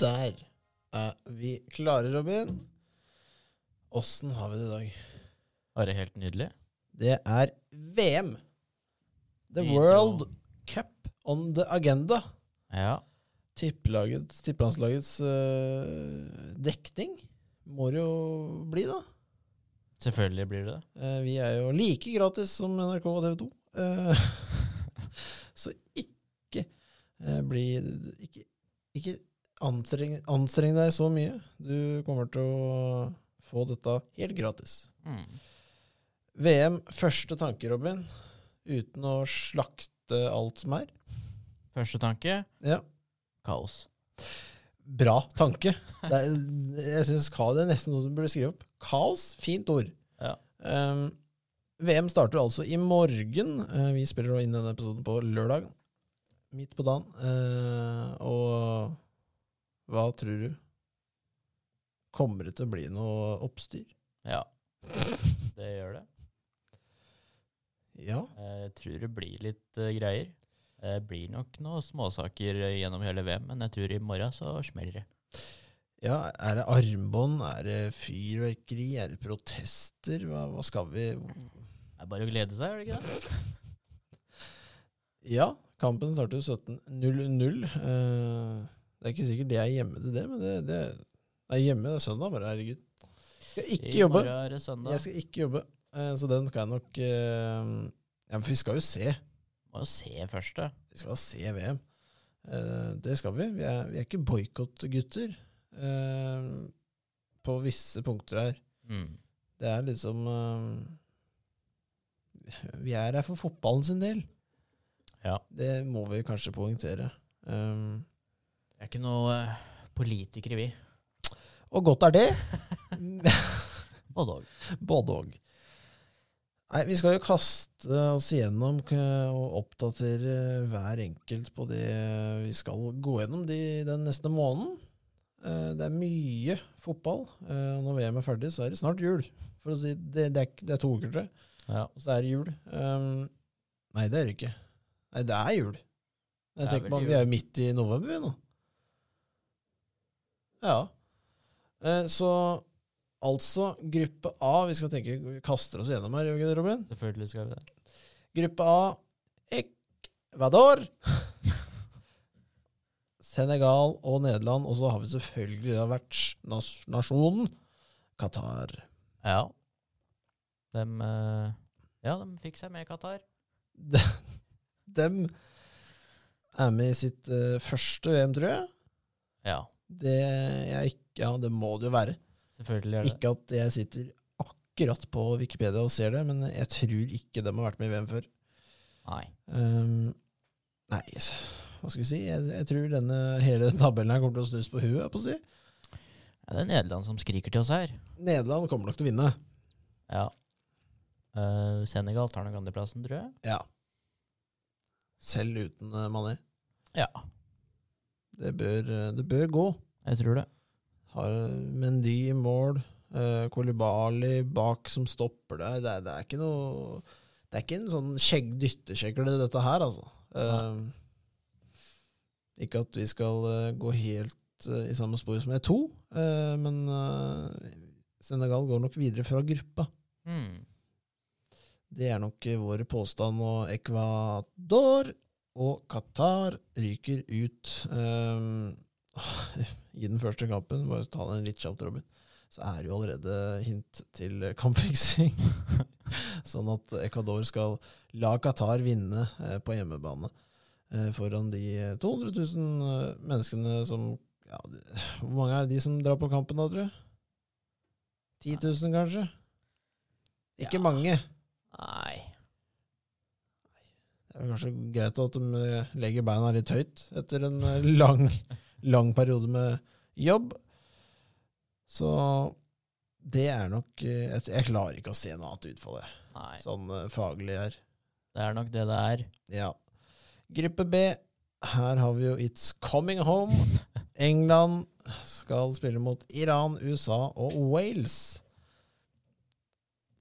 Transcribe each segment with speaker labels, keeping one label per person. Speaker 1: Der er vi klare, Robin. Åssen har vi det i dag?
Speaker 2: Var det helt nydelig?
Speaker 1: Det er VM. The
Speaker 2: Vi
Speaker 1: World
Speaker 2: dro-
Speaker 1: Cup on the agenda.
Speaker 2: Ja.
Speaker 1: Tippelagets, tippelandslagets eh, dekning må det jo bli, da.
Speaker 2: Selvfølgelig blir det det.
Speaker 1: Eh, vi er jo like gratis som NRK og TV 2. så ikke eh, bli Ikke, ikke anstreng, anstreng deg så mye. Du kommer til å få dette helt gratis.
Speaker 2: Mm.
Speaker 1: VM, første tanke, Robin. Uten å slakte alt som er.
Speaker 2: Første tanke
Speaker 1: Ja.
Speaker 2: kaos.
Speaker 1: Bra tanke. Det er, jeg syns det er nesten noe du burde skrive opp. Kaos, fint ord.
Speaker 2: Ja.
Speaker 1: Um, VM starter altså i morgen. Eh, vi spiller da inn denne episoden på lørdag, midt på dagen. Eh, og hva tror du? Kommer det til å bli noe oppstyr?
Speaker 2: Ja, det gjør det.
Speaker 1: Ja.
Speaker 2: Eh, Jeg tror det blir litt eh, greier. Det blir nok noen småsaker eh, gjennom hele VM, men jeg tror i morgen så smeller det.
Speaker 1: ja. Er det armbånd? Er det fyrverkeri? Er det protester? Hva, hva skal vi
Speaker 2: Det er bare å glede seg, er det ikke det?
Speaker 1: Ja, kampen starter 17.00. Eh, det er ikke sikkert det er hjemme til det, men det, det er hjemme. Det er søndag, bare. Herregud. Skal ikke
Speaker 2: I
Speaker 1: jobbe.
Speaker 2: morgen er det søndag.
Speaker 1: Jeg skal ikke jobbe, eh, så den skal jeg nok eh, Ja, men vi skal jo se.
Speaker 2: Må jo se først, da.
Speaker 1: Vi skal se VM. Eh, det skal vi. Vi er, vi er ikke boikottgutter eh, på visse punkter her.
Speaker 2: Mm.
Speaker 1: Det er liksom eh, Vi er her for fotballen sin del.
Speaker 2: Ja.
Speaker 1: Det må vi kanskje poengtere. Eh,
Speaker 2: Vi er ikke noe eh, politikere, vi.
Speaker 1: og godt er det.
Speaker 2: Både òg.
Speaker 1: Både òg. Nei, vi skal jo kaste oss igjennom k- og oppdatere hver enkelt på det vi skal gå gjennom de, den neste måneden. Eh, Det er mye fotball. eh, og Når VM er ferdig, så er det snart jul. For å si det, det, er, ikke- det er to uker til,
Speaker 2: Ja.
Speaker 1: og så er det jul. Um, nei, det er det ikke. Nei, det er jul. Jeg
Speaker 2: Det er
Speaker 1: tenker
Speaker 2: vel
Speaker 1: på, at Vi
Speaker 2: jul.
Speaker 1: er jo midt i november, vi nå. Ja. Eh, så Altså, gruppe A Vi skal tenke, vi kaster oss gjennom her, gjør vi ikke det, Robin?
Speaker 2: Selvfølgelig skal vi det.
Speaker 1: Gruppe A Ecuador, Senegal og Nederland. Og så har vi selvfølgelig da vertsnasjonen Qatar.
Speaker 2: Ja. Dem, eh, ja, de fikk seg med Qatar.
Speaker 1: De, dem er med i sitt eh, første VM, tror jeg.
Speaker 2: Ja,
Speaker 1: Det jeg ikke, ja, det må det jo være.
Speaker 2: selvfølgelig er det.
Speaker 1: Ikke at jeg sitter akkurat på Wikipedia og ser det, men jeg tror ikke dem har vært med i VM før.
Speaker 2: Nei.
Speaker 1: Ehm, nei, s- hva skal vi si? Jeg, jeg tror denne hele tabellen her kommer til å snus på huet. jeg på å si.
Speaker 2: Ja, det er Nederland som skriker til oss her.
Speaker 1: Nederland kommer nok til å vinne.
Speaker 2: Ja. Eh, Senegal tar nok andreplassen, tror jeg.
Speaker 1: Ja. Selv uten eh, Mané.
Speaker 2: Ja,
Speaker 1: Det bør, eh, det bør gå.
Speaker 2: jeg tror det.
Speaker 1: Har Mendy i mål. eh, Kolibali bak som stopper der. Det er, det er ikke noe Det er ikke en sånn skjegg dyttekjegle, dette her, altså. Ehm, ikke at vi skal eh, gå helt eh, i samme spor som jeg to, eh, men eh, Senegal går nok videre fra gruppa.
Speaker 2: Hmm.
Speaker 1: Det er nok eh, vår påstand. Og Ecuador og Qatar ryker ut. Ehm, I den første kampen, bare ta den litt kjapt, Robin, så er det jo allerede hint til eh, kampfiksing. sånn at Ecuador skal la Qatar vinne eh, på hjemmebane eh, foran de eh, 200 000 eh, menneskene som ja, de- Hvor mange er de som drar på kampen, da, tror du? 10 000, kanskje? Ikke
Speaker 2: Ja.
Speaker 1: mange.
Speaker 2: Nei.
Speaker 1: Det er vel kanskje greit at de eh, legger beina litt høyt etter en eh, lang, lang periode med jobb. Så det er nok eh, Jeg jeg klarer ikke å se noe annet utfall, jeg.
Speaker 2: Nei.
Speaker 1: Sånn eh, faglig her.
Speaker 2: Det er nok det det er.
Speaker 1: Ja. Gruppe B. Her har vi jo It's Coming Home. England skal spille mot Iran, USA og Wales.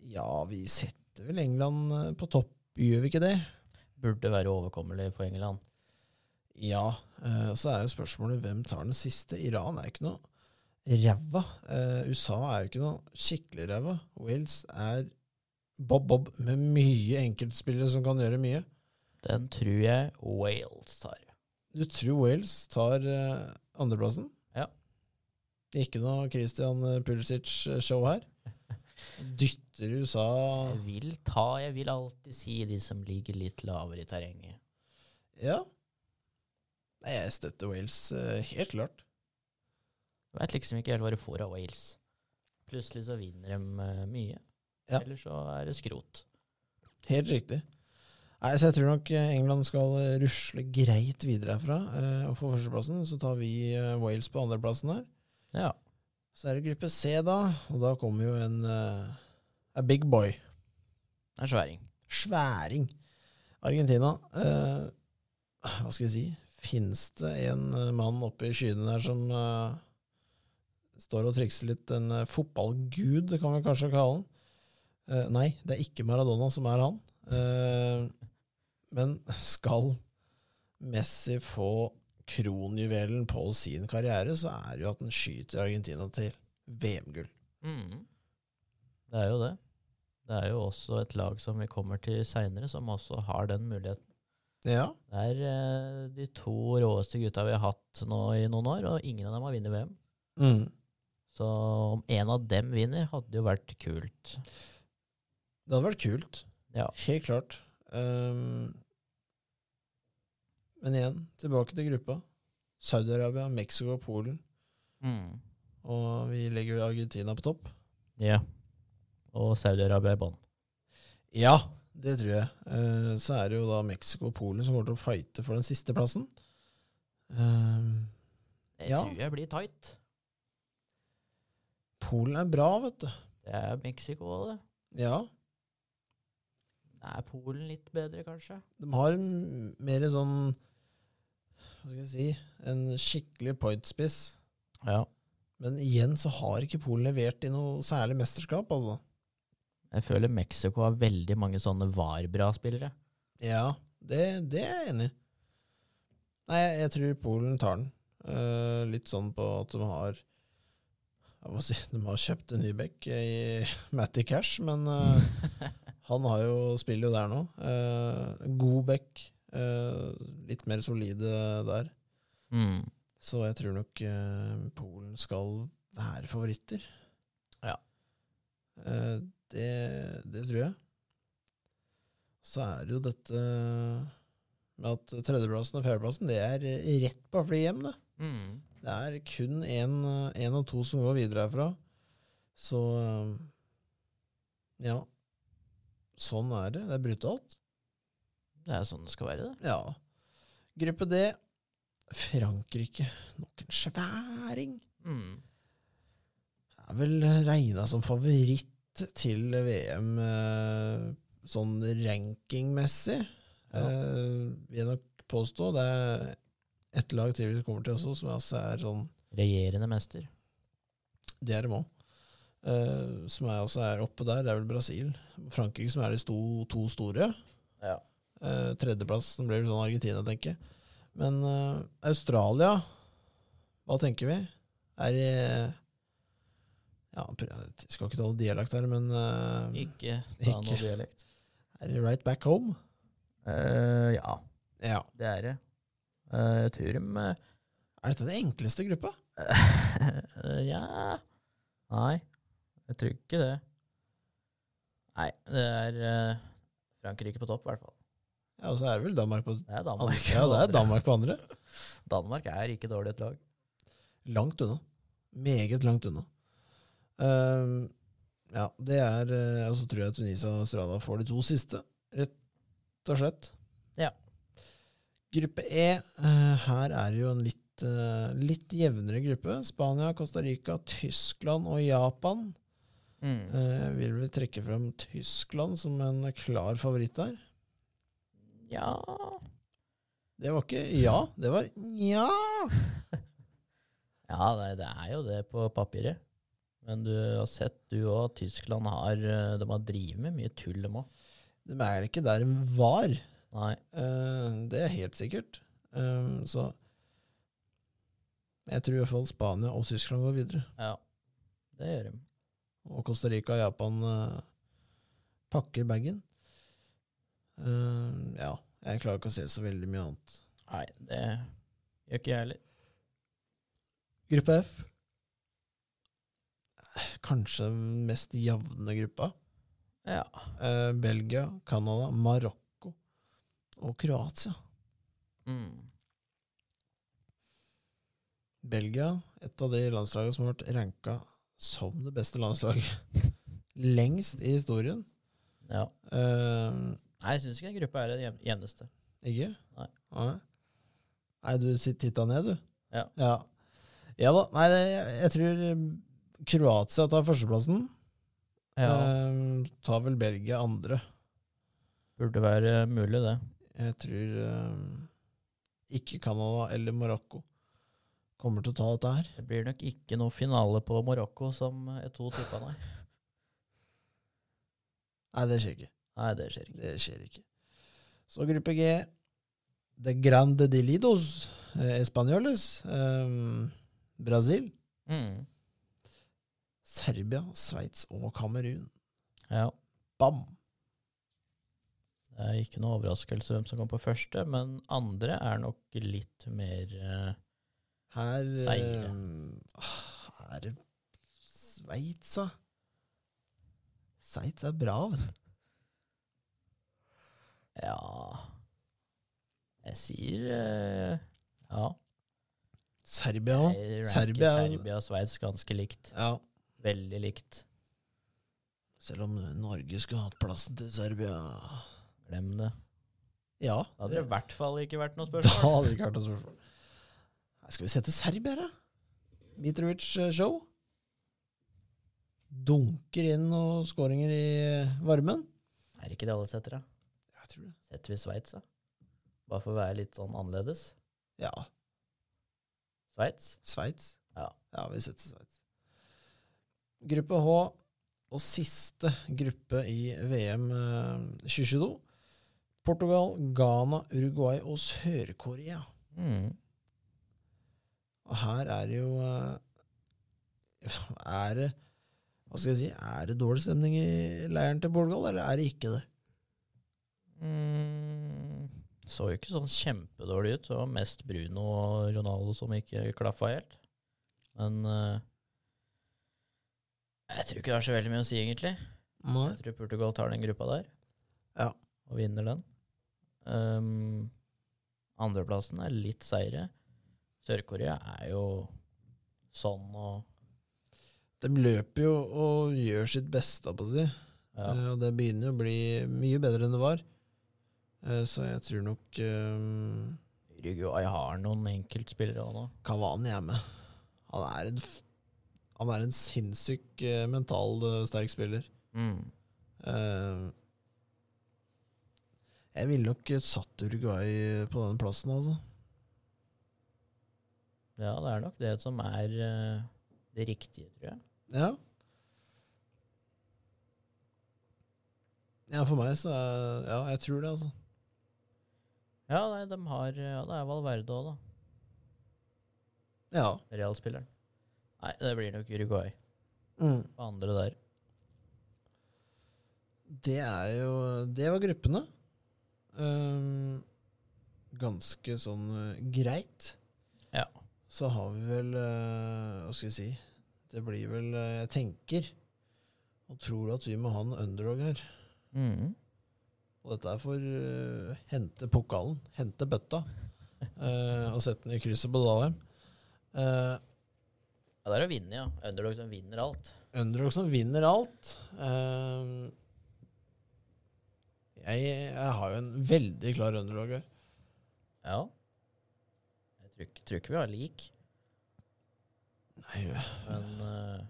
Speaker 1: Ja, vi setter vel England eh, på topp, gjør vi ikke det?
Speaker 2: Burde være overkommelig for England.
Speaker 1: Ja, eh, og så er jo spørsmålet hvem tar den siste. Iran er jo ikke noe ræva. Eh, USA er jo ikke noe skikkelig ræva. Wales er bob-bob med mye enkeltspillere som kan gjøre mye.
Speaker 2: Den tror jeg Wales tar.
Speaker 1: Du tror Wales tar eh, andreplassen?
Speaker 2: Ja.
Speaker 1: Ikke noe Christian Pulisic-show her. Dytter USA
Speaker 2: Jeg vil ta, jeg vil alltid si de som ligger litt lavere i terrenget.
Speaker 1: Ja. Nei, jeg støtter Wales eh, helt klart.
Speaker 2: Jeg vet liksom ikke helt hva du får av Wales. Plutselig så vinner de eh, mye.
Speaker 1: Ja.
Speaker 2: Eller så er det skrot.
Speaker 1: Helt riktig. Nei, så Jeg tror nok eh, England skal eh, rusle greit videre herfra eh, og få førsteplassen. Så tar vi eh, Wales på andreplassen her.
Speaker 2: Ja.
Speaker 1: Så er det gruppe C, da. Og da kommer jo en eh, a big boy.
Speaker 2: Det er sværing.
Speaker 1: Sværing. Argentina. eh, hva skal jeg si? Fins det en eh, mann oppe i skyene der som eh, står og trikser litt? En eh, fotballgud, det kan vi kanskje kalle han. Eh, nei, det er ikke Maradona som er han. Eh, men skal Messi få kronjuvelen på sin karriere, så er det jo at han skyter Argentina til VM-gull.
Speaker 2: Mm. Det er jo det. Det er jo også et lag som vi kommer til seinere, som også har den muligheten.
Speaker 1: Ja,
Speaker 2: Det er eh, de to råeste gutta vi har hatt nå i noen år, og ingen av dem har vunnet VM.
Speaker 1: mm.
Speaker 2: Så om en av dem vinner, hadde jo vært kult.
Speaker 1: det hadde vært kult.
Speaker 2: Ja.
Speaker 1: Helt klart. Ehm, men igjen, tilbake til gruppa. Saudi-Arabia, Mexico og Polen.
Speaker 2: Mm.
Speaker 1: Og vi legger Argentina på topp.
Speaker 2: Ja. Og Saudi-Arabia i bånn.
Speaker 1: Ja, det tror jeg. Eh, så er det jo da Mexico og Polen som kommer til å fighte for den siste plassen. Ehm,
Speaker 2: Jeg
Speaker 1: Ja.
Speaker 2: tror jeg blir tight.
Speaker 1: Polen er bra, vet du.
Speaker 2: Det er Mexico, det.
Speaker 1: Ja.
Speaker 2: Er Polen litt bedre, kanskje?
Speaker 1: De har en mer sånn Hva skal jeg si En skikkelig pointspiss.
Speaker 2: Ja.
Speaker 1: Men igjen så har ikke Polen levert i noe særlig mesterskap, altså.
Speaker 2: Jeg føler Mexico har veldig mange sånne var-bra spillere.
Speaker 1: Ja, det, det er jeg enig i. Nei, jeg, jeg tror Polen tar den. Eh, litt sånn på at de har jeg må si, De har kjøpt en ny bekk i Matty Cash, men eh, han har jo, spiller jo der nå. Eh, god bekk. eh, litt mer solide der.
Speaker 2: Mm.
Speaker 1: Så jeg tror nok eh, Polen skal være favoritter.
Speaker 2: Ja.
Speaker 1: Eh, det, det tror jeg. Så er det jo dette med at tredjeplassen og fjerdeplassen, det er eh, rett på fly hjem, det.
Speaker 2: Mm.
Speaker 1: Det er kun én av to som går videre herfra. Så eh, ja. Sånn er det. Det er brutalt.
Speaker 2: Det er sånn det skal være, det.
Speaker 1: Ja. Gruppe D. Frankrike. Nok en sværing.
Speaker 2: Mm.
Speaker 1: Er vel regna som favoritt til VM eh, sånn rankingmessig,
Speaker 2: Ja.
Speaker 1: eh, vil jeg nok påstå. Det er ett lag til vi kommer til også, som altså er sånn
Speaker 2: Regjerende mester.
Speaker 1: Det er dem òg. Eh, som er også er oppe der. Det er vel Brasil. Frankrike som er de sto, to store.
Speaker 2: Ja.
Speaker 1: Eh, tredjeplass som blir vel sånn Argentina, tenker jeg. Men eh, Australia, hva tenker vi? Er i Ja, pr- jeg skal ikke tale dialekt her, men eh,
Speaker 2: Ikke ta
Speaker 1: Ikke.
Speaker 2: noe dialekt.
Speaker 1: er det right back home?
Speaker 2: Eh, ja,
Speaker 1: Ja.
Speaker 2: det er det. Eh, jeg tror de
Speaker 1: Er dette den enkleste gruppa?
Speaker 2: eh, Ja Nei, jeg tror ikke det. Nei, det er eh, Frankrike på topp, i hvert fall.
Speaker 1: Ja, og så er det vel Danmark på
Speaker 2: Det er Danmark.
Speaker 1: andre. Ja, det er Danmark på andre.
Speaker 2: Danmark er ikke dårlig et lag.
Speaker 1: Langt unna. Meget langt unna. Ehm, ja, det er eh, Og så tror jeg Tunisia og Australia får de to siste, rett og slett.
Speaker 2: Ja.
Speaker 1: Gruppe E, eh, her er det jo en litt, eh, litt jevnere gruppe. Spania, Costa Rica, Tyskland og Japan.
Speaker 2: Mm.
Speaker 1: Eh, vil vi trekke frem Tyskland som en klar favoritt der?
Speaker 2: Ja
Speaker 1: Det var ikke ja, det var nja.
Speaker 2: Ja, nei, det er jo det på papiret. Men du har sett, du òg, Tyskland har eh, De har drevet med mye tull, dem òg.
Speaker 1: De er ikke der de var.
Speaker 2: Nei.
Speaker 1: Eh, det er helt sikkert. Um, så jeg tror i hvert fall Spania og Tyskland går videre.
Speaker 2: Ja, det gjør de.
Speaker 1: Og Costa Rica og Japan eh, pakker bagen. Um, ja, jeg klarer ikke å se så veldig mye annet.
Speaker 2: Nei, det gjør ikke jeg heller.
Speaker 1: Gruppe F. Kanskje den mest jevne gruppa.
Speaker 2: Ja.
Speaker 1: Eh, Belgia, Canada, Marokko og Kroatia.
Speaker 2: Mm.
Speaker 1: Belgia, et av de landslagene som har vært ranka som det beste landslaget lengst i historien.
Speaker 2: ja.
Speaker 1: Eh,
Speaker 2: Nei, jeg syns ikke den gruppa er den jevn- jevneste.
Speaker 1: ikke?
Speaker 2: Nei.
Speaker 1: Nei. Nei, du sit- titta ned, du.
Speaker 2: Ja.
Speaker 1: Ja, ja da. Nei, det, jeg, jeg tror Kroatia tar førsteplassen. Eh, tar vel Belgia andre.
Speaker 2: Burde være eh, mulig, det.
Speaker 1: Jeg tror eh, ikke Canada eller Marokko kommer til å ta dette her.
Speaker 2: Det blir nok ikke noe finale på Marokko, som jeg to tippa, nei.
Speaker 1: Nei, det skjer ikke.
Speaker 2: Nei, det skjer ikke.
Speaker 1: Det skjer ikke. Så gruppe G. De Grande Delidos eh, Españoles. Eh, Brasil,
Speaker 2: Mm.
Speaker 1: Serbia, Sveits og Kamerun.
Speaker 2: Ja.
Speaker 1: Bam!
Speaker 2: Det er ikke noe overraskelse hvem som kom på første, men andre er nok litt mer eh,
Speaker 1: Her eh,
Speaker 2: Seire.
Speaker 1: ah, Er det Sveits, da? Sveits er bra, vet du.
Speaker 2: Ja Jeg sier eh, Ja.
Speaker 1: Serbia òg.
Speaker 2: Jeg ranker Serbia,
Speaker 1: Serbia er-
Speaker 2: og Sveits ganske likt.
Speaker 1: Ja.
Speaker 2: Veldig likt.
Speaker 1: Selv om Norge skulle hatt plassen til Serbia.
Speaker 2: Glem det.
Speaker 1: Ja,
Speaker 2: Det hadde i hvert fall ikke vært noe
Speaker 1: Da
Speaker 2: spørsmål.
Speaker 1: hadde det ikke vært noe spørsmål. Nei, Skal vi sette Serbia, da? Mitrovic eh, show. Dunker inn noen skåringer i eh, varmen.
Speaker 2: Er ikke det alle setter, da?
Speaker 1: Jeg tror det.
Speaker 2: Setter vi Sveits, da? Bare for å være litt sånn annerledes.
Speaker 1: Ja.
Speaker 2: Sveits?
Speaker 1: Sveits.
Speaker 2: Ja.
Speaker 1: ja, vi setter Sveits. Gruppe H, og siste gruppe i VM eh, 2022. Portugal, Ghana, Uruguay og Sør-Korea.
Speaker 2: Mm.
Speaker 1: Og her er det jo eh, Er det Hva skal jeg si? Er det dårlig stemning i leiren til Portugal, eller er det ikke det?
Speaker 2: Mm. Så jo ikke sånn kjempedårlig ut. Det var mest Bruno og Ronaldo som ikke klaffa helt. Men eh, jeg tror ikke det er så veldig mye å si, egentlig.
Speaker 1: Nei.
Speaker 2: Jeg tror Portugal tar den gruppa der
Speaker 1: Ja.
Speaker 2: og vinner den. Ehm, andreplassen er litt seire. Sør-Korea er jo sånn og
Speaker 1: De løper jo og gjør sitt beste, på å si.
Speaker 2: ja.
Speaker 1: Eh, Og det begynner jo å bli mye bedre enn det var. Eh, Så jeg tror nok eh,
Speaker 2: Uruguay har noen enkeltspillere òg nå.
Speaker 1: Cavani er med. Han er en, f- han er en sinnssyk eh, mental eh, sterk spiller.
Speaker 2: Mm.
Speaker 1: Eh, Jeg ville nok eh, satt Uruguay på den plassen, altså.
Speaker 2: Ja, det er nok det som er eh, det riktige, tror jeg.
Speaker 1: Ja. Ja, for meg så er Ja, jeg tror det, altså.
Speaker 2: Ja, nei, de har, ja det er Valverde òg, da.
Speaker 1: Ja.
Speaker 2: Real-spilleren. Nei, det blir nok Uruguay
Speaker 1: Mm.
Speaker 2: på andre der.
Speaker 1: Det er jo Det var gruppene. Ehm, ganske sånn eh, greit.
Speaker 2: Ja.
Speaker 1: Så har vi vel eh, Hva skal jeg si Det blir vel eh, Jeg tenker og tror at vi må ha en underdog her.
Speaker 2: Mm.
Speaker 1: Og dette er for å hente pokalen, hente bøtta, eh, og sette den i krysset på Dalheim. Eh,
Speaker 2: Ja, det er å vinne, ja. Underdog som vinner alt.
Speaker 1: underdog som vinner alt. Eh, jeg, jeg har jo en veldig klar underdog her.
Speaker 2: Ja. Jeg tror, ikke- tror ikke vi har lik,
Speaker 1: Nei,
Speaker 2: men eh,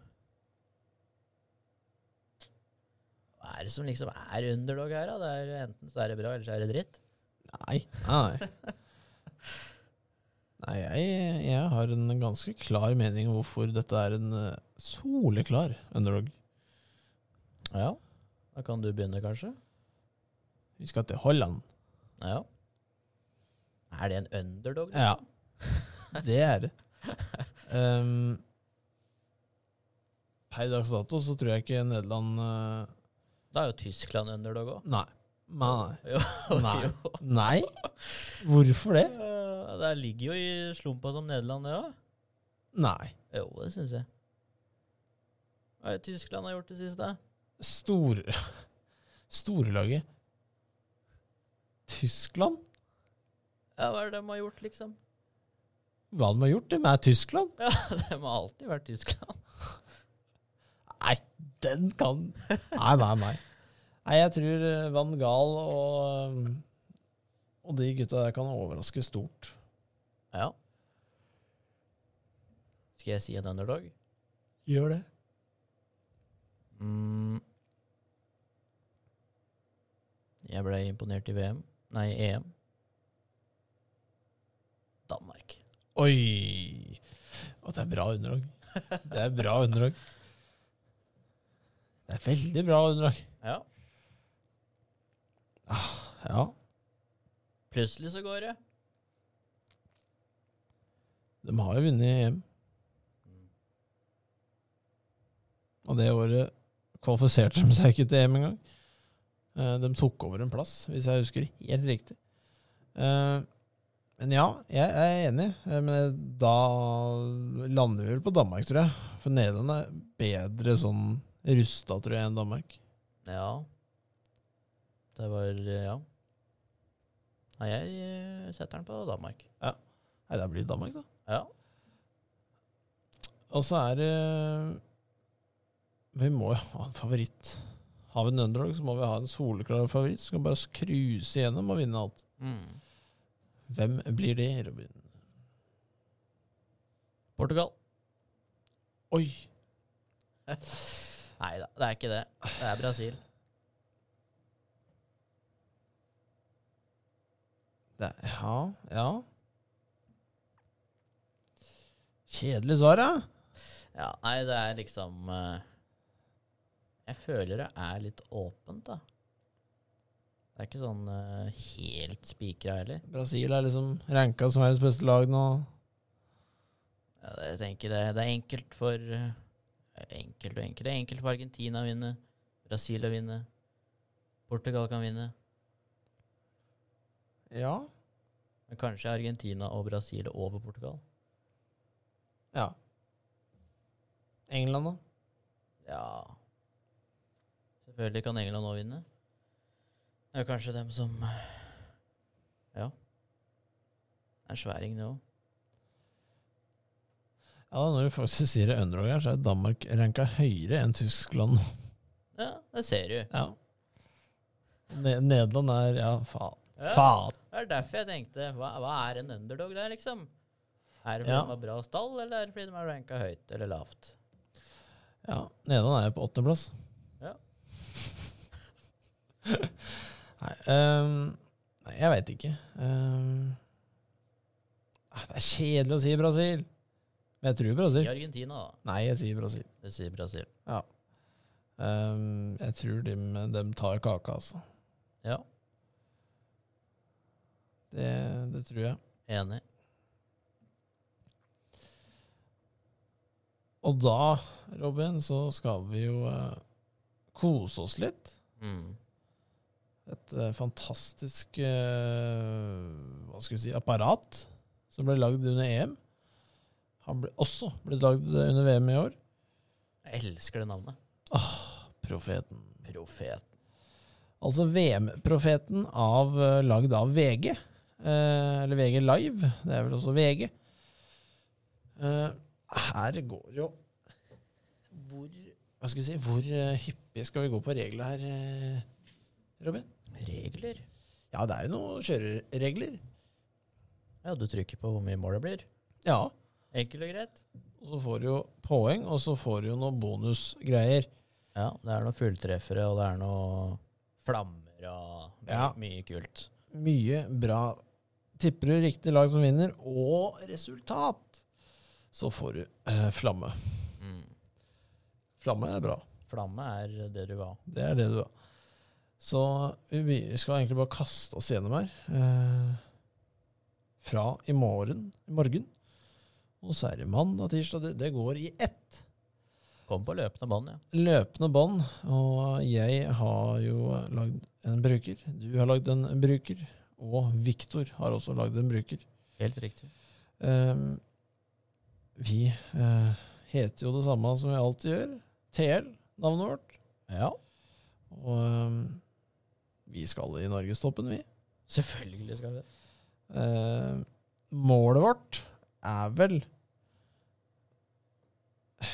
Speaker 2: Hva er det som liksom er underdog her, da? Det er Enten så er det bra, eller så er det dritt.
Speaker 1: nei. Nei, nei jeg, jeg har en ganske klar mening om hvorfor dette er en eh, soleklar underdog.
Speaker 2: Ja. Da kan du begynne, kanskje.
Speaker 1: Vi skal til Holland.
Speaker 2: Ja. Er det en underdog?
Speaker 1: Ja. Det er det. Ehm, per dags dato så tror jeg ikke Nederland eh,
Speaker 2: Da er jo Tyskland underdog òg.
Speaker 1: Nei. Nei.
Speaker 2: Jo.
Speaker 1: Nei.
Speaker 2: jo.
Speaker 1: Nei? Hvorfor det?
Speaker 2: Eh, Det ligger jo i slumpa som Nederland, det òg.
Speaker 1: Nei.
Speaker 2: Jo, det syns jeg. Hva er det Tyskland har gjort det siste?
Speaker 1: Stor... Storlaget Tyskland?
Speaker 2: Ja, Hva er det de har gjort, liksom?
Speaker 1: Hva de har gjort? De er Tyskland?
Speaker 2: Ja, De har alltid vært Tyskland.
Speaker 1: Nei, den kan Nei, nei, nei. Nei, jeg tror eh, Van Gaal og, eh, og de gutta der kan overraske stort.
Speaker 2: Ja. Skal jeg si en underdog?
Speaker 1: Gjør det.
Speaker 2: Mm. Jeg ble imponert i VM. Nei, E EM. Danmark.
Speaker 1: Oi! Og det er bra underlag. Det er bra underlag. Det er veldig bra underlag.
Speaker 2: Ja.
Speaker 1: Ja.
Speaker 2: Plutselig så går det.
Speaker 1: De har jo vunnet EM. Og det året kvalifiserte de seg ikke til EM engang. Eh, De tok over en plass, hvis jeg husker helt riktig. Eh, Men ja, jeg er enig. Eh, Men da lander vi vel på Danmark, tror jeg. For Nederland er bedre sånn rusta, tror jeg, enn Danmark.
Speaker 2: Ja. Det var Ja. Nei, jeg eh, setter den på Danmark.
Speaker 1: Nei, da blir det Danmark, da.
Speaker 2: Ja.
Speaker 1: Og så er det Vi må jo ha en favoritt. Har vi en underdog, så må vi ha en soleklar favoritt som kan bare cruise gjennom og vinne alt.
Speaker 2: Mm.
Speaker 1: Hvem blir det, Robin?
Speaker 2: Portugal.
Speaker 1: Oi!
Speaker 2: Nei da, det er ikke det. Det er Brasil.
Speaker 1: Det er, ja, ja. Kjedelig svar, ja.
Speaker 2: Ja, nei, det er liksom eh, Jeg føler det er litt åpent, da. Det er ikke sånn eh, helt spikra heller.
Speaker 1: Brasil er liksom ranka som verdens beste lag nå.
Speaker 2: Ja, det- jeg tenker det, det er enkelt for eh, Enkelt og enkelt. Det er enkelt for Argentina å vinne. Brasil å vinne. Portugal kan vinne.
Speaker 1: Ja.
Speaker 2: Men kanskje Argentina og Brasil over Portugal?
Speaker 1: Ja. England, da?
Speaker 2: Ja Selvfølgelig kan England òg vinne. Det er jo kanskje dem som Ja. Det er en sværing, det òg.
Speaker 1: Ja, Når du faktisk sier det underdog her, så er Danmark ranka høyere enn Tyskland.
Speaker 2: Ja, det ser du.
Speaker 1: Ja. Ne Nederland er Ja, faen.
Speaker 2: Ja.
Speaker 1: Faen.
Speaker 2: Det er derfor jeg tenkte hva, hva er en underdog der, liksom? Er det fordi
Speaker 1: Ja.
Speaker 2: de har bra stall, eller er det fordi de har ranka høyt eller lavt?
Speaker 1: Ja, Nederland er jo på åttendeplass.
Speaker 2: Ja.
Speaker 1: nei, ehm, nei, jeg veit ikke. Ehm, ah, det er kjedelig å si Brasil. Men jeg tror
Speaker 2: Si
Speaker 1: Brasil.
Speaker 2: Argentina, da.
Speaker 1: Nei, jeg sier Brasil.
Speaker 2: Det sier Brasil.
Speaker 1: Ehm, jeg tror de, de tar kaka, altså.
Speaker 2: Ja,
Speaker 1: Det, det tror jeg.
Speaker 2: enig.
Speaker 1: Og da, Robin, så skal vi jo eh, kose oss litt.
Speaker 2: Mm.
Speaker 1: et eh, fantastisk eh, hva skal vi si, apparat som ble lagd under EM. Han ble også blitt lagd under VM i år.
Speaker 2: Jeg elsker det navnet.
Speaker 1: Profeten.
Speaker 2: Profet.
Speaker 1: Altså VM-profeten av, eh, lagd av VG. Eh, eller VG Live. Det er vel også VG. Eh, her går jo Hvor hva skal vi si, hvor eh, hyppig skal vi gå på reglene her, eh, Robin?
Speaker 2: Regler?
Speaker 1: Ja, det er jo noen kjøreregler.
Speaker 2: Ja, du trykker på hvor mye mål det blir.
Speaker 1: Ja.
Speaker 2: Enkelt og greit.
Speaker 1: Og så får du jo poeng, og så får du jo noen bonusgreier.
Speaker 2: Ja, det er noen fulltreffere, og det er noen flammer og
Speaker 1: Ja.
Speaker 2: mye kult.
Speaker 1: Mye bra. Tipper du riktig lag som vinner, og resultat, så får du eh, flamme.
Speaker 2: Mm.
Speaker 1: Flamme er bra.
Speaker 2: Flamme er det du var.
Speaker 1: Det er det du har. Så vi vi skal egentlig bare kaste oss gjennom her. Eh, fra i morgen. I morgen. Og så er det mandag, tirsdag Det, det går i ett
Speaker 2: Kom på løpende bånd, ja.
Speaker 1: løpende bånd. Og jeg har jo lagd en bruker. Du har lagd en bruker. Og Viktor har også lagd en bruker.
Speaker 2: Helt riktig.
Speaker 1: Ehm, vi eh, heter jo det samme som vi alltid gjør. TL, navnet vårt.
Speaker 2: Ja.
Speaker 1: Og ehm, vi skal i norgestoppen, vi.
Speaker 2: Selvfølgelig skal vi det.
Speaker 1: Eh, målet vårt er vel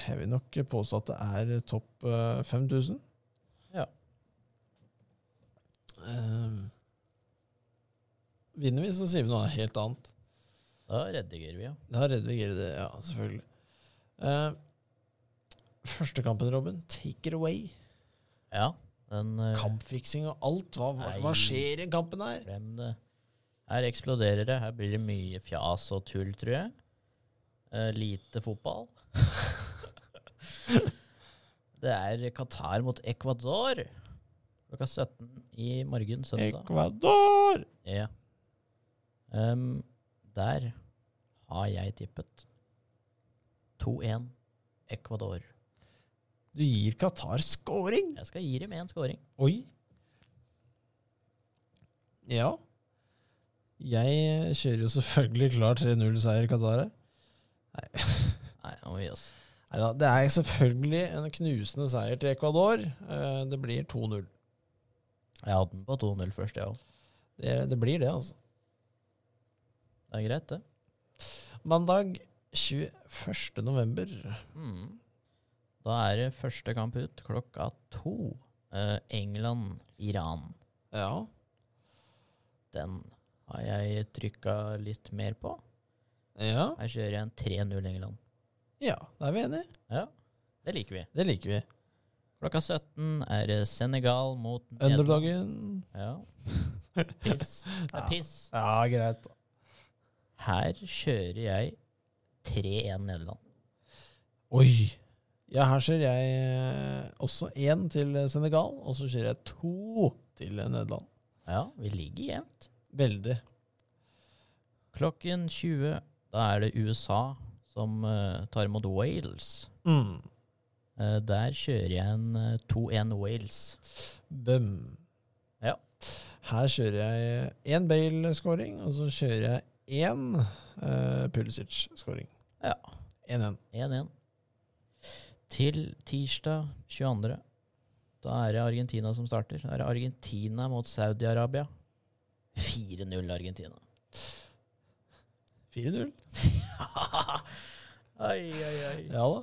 Speaker 1: Jeg vil nok påstå at det er topp eh, 5000.
Speaker 2: Ja.
Speaker 1: Eh, vinner vi, så sier vi noe helt annet.
Speaker 2: Da redigerer vi, ja.
Speaker 1: Da redigerer det, ja, selvfølgelig. Eh, første kampen, Robin. Take it away.
Speaker 2: Ja, den eh,
Speaker 1: Kampfiksing og alt. Hva, hva,
Speaker 2: Nei.
Speaker 1: hva skjer i den kampen her?
Speaker 2: Glem det. Her eksploderer det. Her blir det mye fjas og tull, tror jeg. Eh, lite fotball. det er Qatar mot Ecuador klokka 17 i morgen søndag.
Speaker 1: Ecuador!
Speaker 2: Ja. Ehm, der har jeg tippet 2-1 Ecuador.
Speaker 1: Du gir Qatar scoring!
Speaker 2: Jeg skal gi dem én scoring.
Speaker 1: Oi. Ja. Jeg kjører jo selvfølgelig klar 3-0-seier i Qatar. her.
Speaker 2: Nei, nå må vi gi oss.
Speaker 1: Neida, Det er selvfølgelig en knusende seier til Ecuador. Eh, Det blir 2-0.
Speaker 2: Jeg hadde den på 2-0 først, jeg òg.
Speaker 1: Det, det blir det, altså.
Speaker 2: Det er greit, det.
Speaker 1: Mandag 21. november.
Speaker 2: Mm. Da er det første kamp ut klokka to. Eh, England-Iran.
Speaker 1: Ja.
Speaker 2: Den har jeg trykka litt mer på.
Speaker 1: Ja,
Speaker 2: Her kjører jeg en 3-0 England.
Speaker 1: ja da er vi enige.
Speaker 2: Ja, det liker vi.
Speaker 1: Det liker vi.
Speaker 2: Klokka 17 er det Senegal mot Nederland.
Speaker 1: Underdagen
Speaker 2: Ja. Piss. Det er
Speaker 1: Ja.
Speaker 2: piss.
Speaker 1: Ja, greit.
Speaker 2: Her kjører jeg 3-1 Nederland.
Speaker 1: Oi! Ja, her ser jeg eh, også én til Senegal, og så ser jeg to til Nederland.
Speaker 2: Ja, vi ligger jevnt.
Speaker 1: Veldig.
Speaker 2: Klokken 20, da er det USA som eh, tar imot Wales.
Speaker 1: Mm.
Speaker 2: Eh, der kjører jeg en eh, 2-1 Wales.
Speaker 1: Bøm.
Speaker 2: Ja.
Speaker 1: Her kjører jeg én Bale-scoring, og så kjører jeg én eh, Pulisic-scoring.
Speaker 2: Ja.
Speaker 1: 1-1.
Speaker 2: 1-1. Til tirsdag 22. Da er det Argentina som starter. Da er det Argentina mot Saudi-Arabia. 4-0 Argentina.
Speaker 1: 4-0.
Speaker 2: Ai, ai, ai.
Speaker 1: Ja da.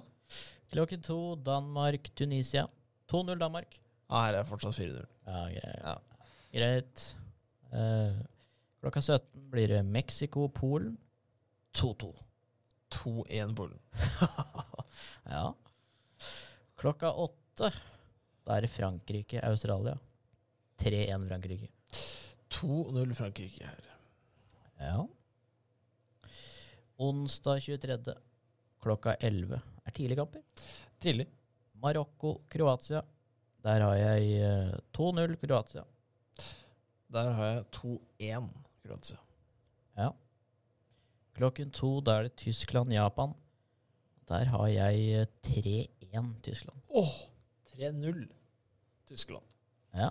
Speaker 2: Klokken to Danmark-Tunisia. 2-0 Danmark.
Speaker 1: Ja, her er det fortsatt 4-0.
Speaker 2: Ja, greit.
Speaker 1: Ja.
Speaker 2: greit. Eh, klokka 17 blir det Mexico-Polen. 2-2.
Speaker 1: 2-1 Polen.
Speaker 2: ja. Klokka åtte, da er det Frankrike-Australia. 3-1 Frankrike.
Speaker 1: 2-0 Frankrike her.
Speaker 2: Ja. Onsdag 23. klokka 11 er tidligkamper.
Speaker 1: Tidlig.
Speaker 2: Marokko-Kroatia. Der har jeg eh, 2-0 Kroatia.
Speaker 1: Der har jeg 2-1 Kroatia.
Speaker 2: Ja. Klokken to, da er det Tyskland-Japan. Der har jeg eh, 3-1 Tyskland.
Speaker 1: Åh! 3-0 Tyskland.
Speaker 2: Ja.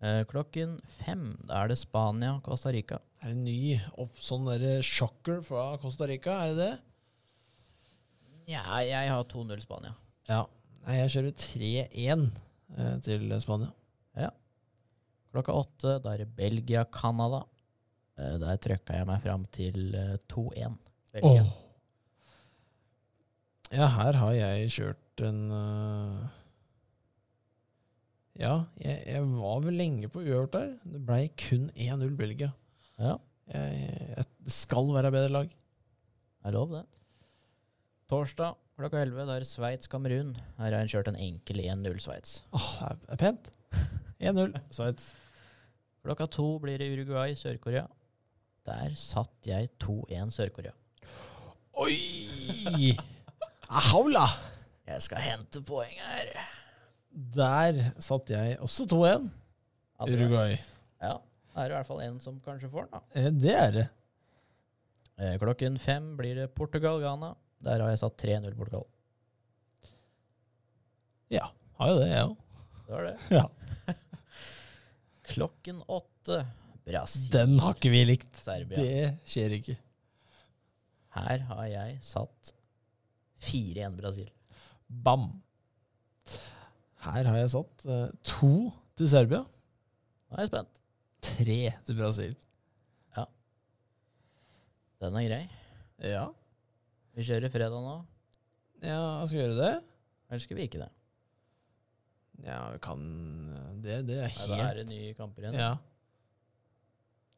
Speaker 2: Eh, Klokken fem, da er det Spania-Costa Rica.
Speaker 1: Er det en ny opp, sånn derre shocker fra Costa Rica? Er det det?
Speaker 2: Ja, jeg har 2-0 Spania.
Speaker 1: Ja. Nei, jeg kjører 3-1 eh, til Spania.
Speaker 2: Klokka åtte, da er det Belgia-Canada. Eh, Der trøkka jeg meg fram til eh, 2-1. Belgia.
Speaker 1: Åh. Ja, her har jeg kjørt en eh, Ja, jeg, jeg var vel lenge på uavgjort der. Det blei kun 1-0 Belgia.
Speaker 2: Ja,
Speaker 1: Jeg, jeg, det skal være bedre lag.
Speaker 2: det er lov, det. Torsdag klokka 11, da er det Sveits-Kamerun. Her har jeg kjørt en enkel 1-0 Sveits.
Speaker 1: Åh, det er- det er pent. 1-0 Sveits.
Speaker 2: Klokka to blir det Uruguay-Sør-Korea. Der satt jeg 2-1 Sør-Korea.
Speaker 1: Oi! Ahaula!
Speaker 2: Jeg skal hente poeng her.
Speaker 1: Der satt jeg også 2-1.
Speaker 2: Ja, det-
Speaker 1: Uruguay.
Speaker 2: Ja. er det i hvert fall en som kanskje får den, da.
Speaker 1: Eh, Det er det.
Speaker 2: Eh, Klokken fem blir det Portugal-Ghana. Der har jeg satt 3-0 Portugal.
Speaker 1: Har jo det, jeg òg.
Speaker 2: Det var det.
Speaker 1: Ja.
Speaker 2: Klokken åtte Brasil.
Speaker 1: Den har ikke vi likt.
Speaker 2: Serbia.
Speaker 1: Det skjer ikke.
Speaker 2: Her har jeg satt 4-1 Brasil.
Speaker 1: Bam. Her har jeg satt eh, to til Serbia,
Speaker 2: Nå er jeg spent.
Speaker 1: tre til Brasil.
Speaker 2: Den er grei.
Speaker 1: Ja,
Speaker 2: Vi kjører fredag nå.
Speaker 1: ja skal vi gjøre det?
Speaker 2: Eller skal vi ikke det?
Speaker 1: Ja, vi kan eh, Det, det er
Speaker 2: Nei, da er
Speaker 1: helt
Speaker 2: det nye kamper igjen.
Speaker 1: Ja.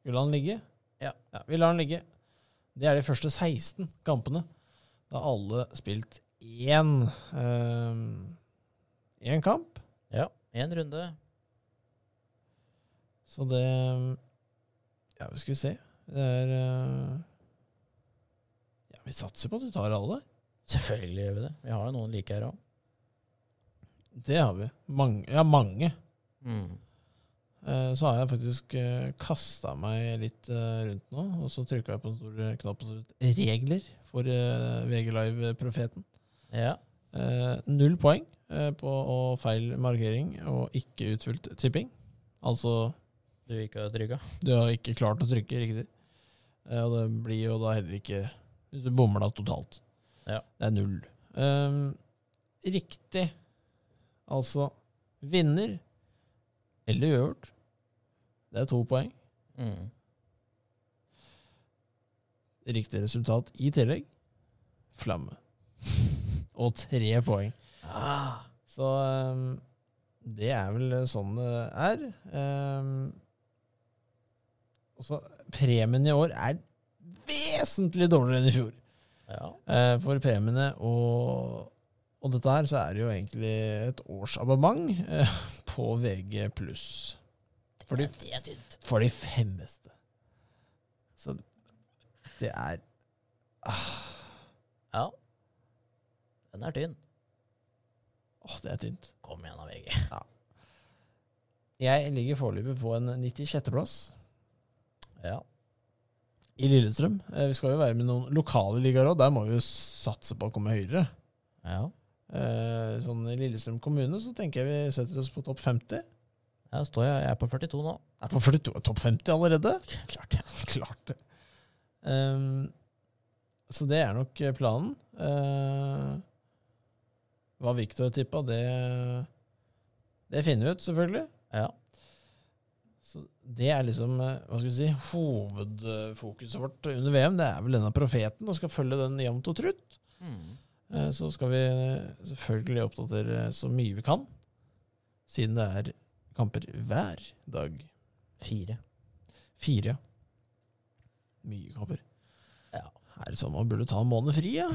Speaker 1: Vi lar den ligge?
Speaker 2: Ja.
Speaker 1: Vi lar den ligge. Det er de første 16 kampene. Da har alle spilt én ehm, Én kamp.
Speaker 2: Ja. Én runde.
Speaker 1: Så det Ja, vi skal se. Det er eh, Ja, vi satser på at vi tar alle.
Speaker 2: Selvfølgelig gjør vi det. Vi har jo noen like her òg.
Speaker 1: Det har vi. Mange, ja, mange.
Speaker 2: Mm.
Speaker 1: Eh, Så har jeg faktisk kasta meg litt eh, rundt nå, og så trykka jeg på eh, den store knappen som het 'regler' for eh, VG Live-profeten.
Speaker 2: Ja.
Speaker 1: Eh, Null poeng eh, på og feil markering og ikke utfylt tipping. Altså,
Speaker 2: Du ikke har trygga?
Speaker 1: du har ikke klart å trykke riktig. Eh, Og det blir jo da heller ikke Hvis du bommer da totalt.
Speaker 2: Ja.
Speaker 1: Det er null. Ehm, riktig, altså vinner eller uavgjort, det er to poeng.
Speaker 2: Mm.
Speaker 1: Riktig resultat i tillegg. Flamme. Og tre poeng.
Speaker 2: Ah.
Speaker 1: Så ehm, det er vel sånn det er. Ehm, og så premien i år er vesentlig dårligere enn i fjor.
Speaker 2: Ja.
Speaker 1: Eh, for premiene og, og dette her, så er det jo egentlig et årsabonnement eh, på VG+. For de,
Speaker 2: Det er tynt.
Speaker 1: for de fem beste. Så det er
Speaker 2: Ja. Den er tynn.
Speaker 1: Åh, det er tynt.
Speaker 2: Kom igjen, da, VG.
Speaker 1: Jeg ligger foreløpig på en 96.-plass
Speaker 2: Ja.
Speaker 1: i Lillestrøm. Eh, Vi skal jo være med noen lokale ligaer òg. Der må vi jo satse på å komme høyere.
Speaker 2: Ja.
Speaker 1: Eh, Sånn I Lillestrøm kommune så tenker jeg vi setter oss på topp 50.
Speaker 2: Her står jeg. Jeg er på 42 nå.
Speaker 1: Er på 42, topp 50 allerede?
Speaker 2: Klart det.
Speaker 1: Klart det. Ehm, så det er nok planen. Eh, hva Viktor tippa, det, det finner vi ut, selvfølgelig.
Speaker 2: Ja.
Speaker 1: Så det er liksom eh, hva skal vi si, hovedfokuset vårt under VM. Det er vel denne profeten, og skal følge den jevnt og trutt.
Speaker 2: Mm.
Speaker 1: Eh, Så skal vi selvfølgelig oppdatere så mye vi kan, siden det er kamper hver dag.
Speaker 2: Fire.
Speaker 1: Fire. Mye kamper.
Speaker 2: Ja.
Speaker 1: Er det sånn man burde ta en måned fri, ja?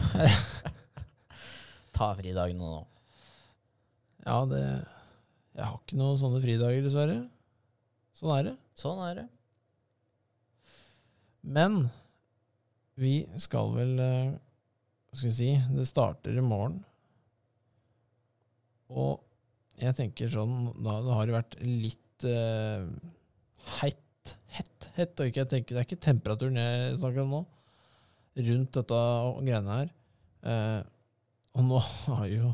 Speaker 2: Ta fridagene nå.
Speaker 1: Ja, det Jeg har ikke noen sånne fridager, dessverre. Sånn er det.
Speaker 2: Sånn er det.
Speaker 1: Men vi skal vel eh, Hva skal vi si? Det starter i morgen. Og jeg tenker sånn Da det har jo vært litt eh, hett, hett, hett og ikke, jeg tenker, Det er ikke temperaturen jeg snakker om nå, rundt dette og greiene her. Eh, og nå har jo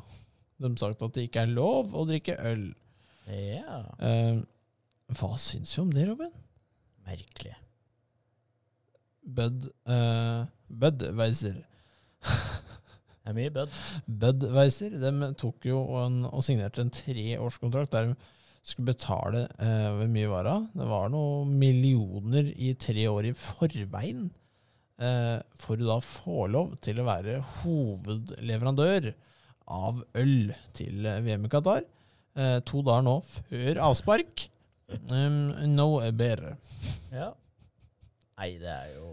Speaker 1: de sagt at det ikke er lov å drikke øl.
Speaker 2: Ja.
Speaker 1: Eh, hva syns vi om det, Robin?
Speaker 2: Merkelig.
Speaker 1: Bud, eh, Budweiser.
Speaker 2: Det er mye bødd.
Speaker 1: Budweiser de tok jo en, og signerte en treårskontrakt der de skulle betale eh, hvor mye var det? Det var noen millioner i tre år i forveien eh, for å da få lov til å være hovedleverandør av øl til eh, VM i Qatar. Eh, to dager nå før avspark. Um, no bedre.
Speaker 2: Ja. Nei, det er jo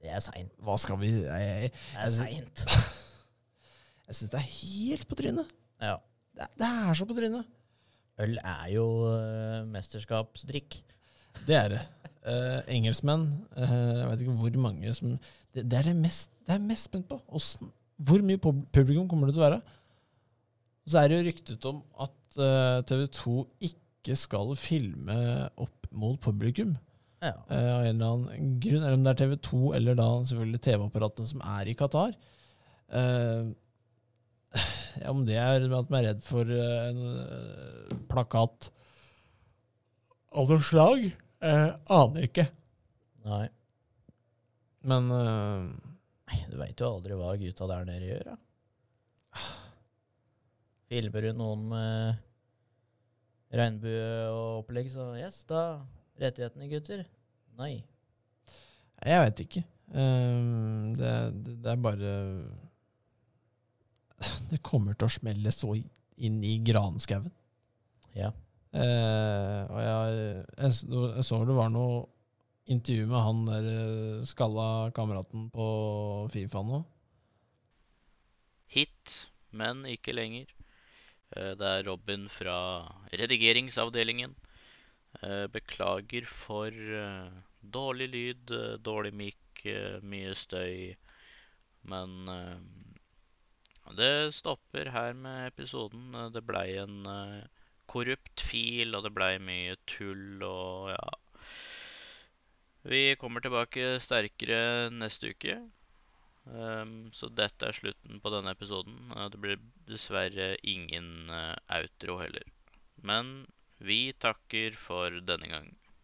Speaker 2: Det er seint.
Speaker 1: Hva skal vi Jeg, jeg,
Speaker 2: Det er seint.
Speaker 1: jeg syns det er helt på trynet.
Speaker 2: Ja.
Speaker 1: Det, det er så på trynet.
Speaker 2: Øl er jo eh, mesterskapsdrikk.
Speaker 1: Det er det. Eh, engelskmenn eh, Jeg vet ikke hvor mange som Det, det er det mest, det er jeg mest spent på. Hvordan, hvor mye pub publikum kommer det til å være? eh, Og så er det jo ryktet om at TV 2 ikke skal filme opp opp mot publikum.
Speaker 2: Ja.
Speaker 1: Eh, av en eller annen grunn, eller om det er TV 2 eller da selvfølgelig TV-apparatene som er i Qatar. Eh, ja, om det er at man er redd for eh, en eh, plakat av noe slag, eh, aner jeg ikke.
Speaker 2: Nei.
Speaker 1: Men eh,
Speaker 2: Nei, du veit jo aldri hva gutta der nede gjør, da. Filmer du noen med regnbue og opplegg, så yes, da. Rettighetene, gutter. Nei.
Speaker 1: jeg veit ikke. Eh, det, det, det er bare Det kommer til å smelle så inn i granskauen.
Speaker 2: Ja.
Speaker 1: Eh, og jeg, jeg, s- no- jeg så det var noe intervju med han der eh, skalla kameraten på Fifa nå.
Speaker 3: hit, men ikke lenger. Eh, Det er Robin fra redigeringsavdelingen. Eh, Beklager for eh, dårlig lyd, eh, dårlig mic, eh, mye støy. Men eh, det stopper her med episoden. Eh, Det blei en eh, korrupt fil, og det blei mye tull og ja. Vi kommer tilbake sterkere neste uke. Ehm, så dette er slutten på denne episoden. Eh, Det blir dessverre ingen eh, outro heller. Men vi takker for denne gang.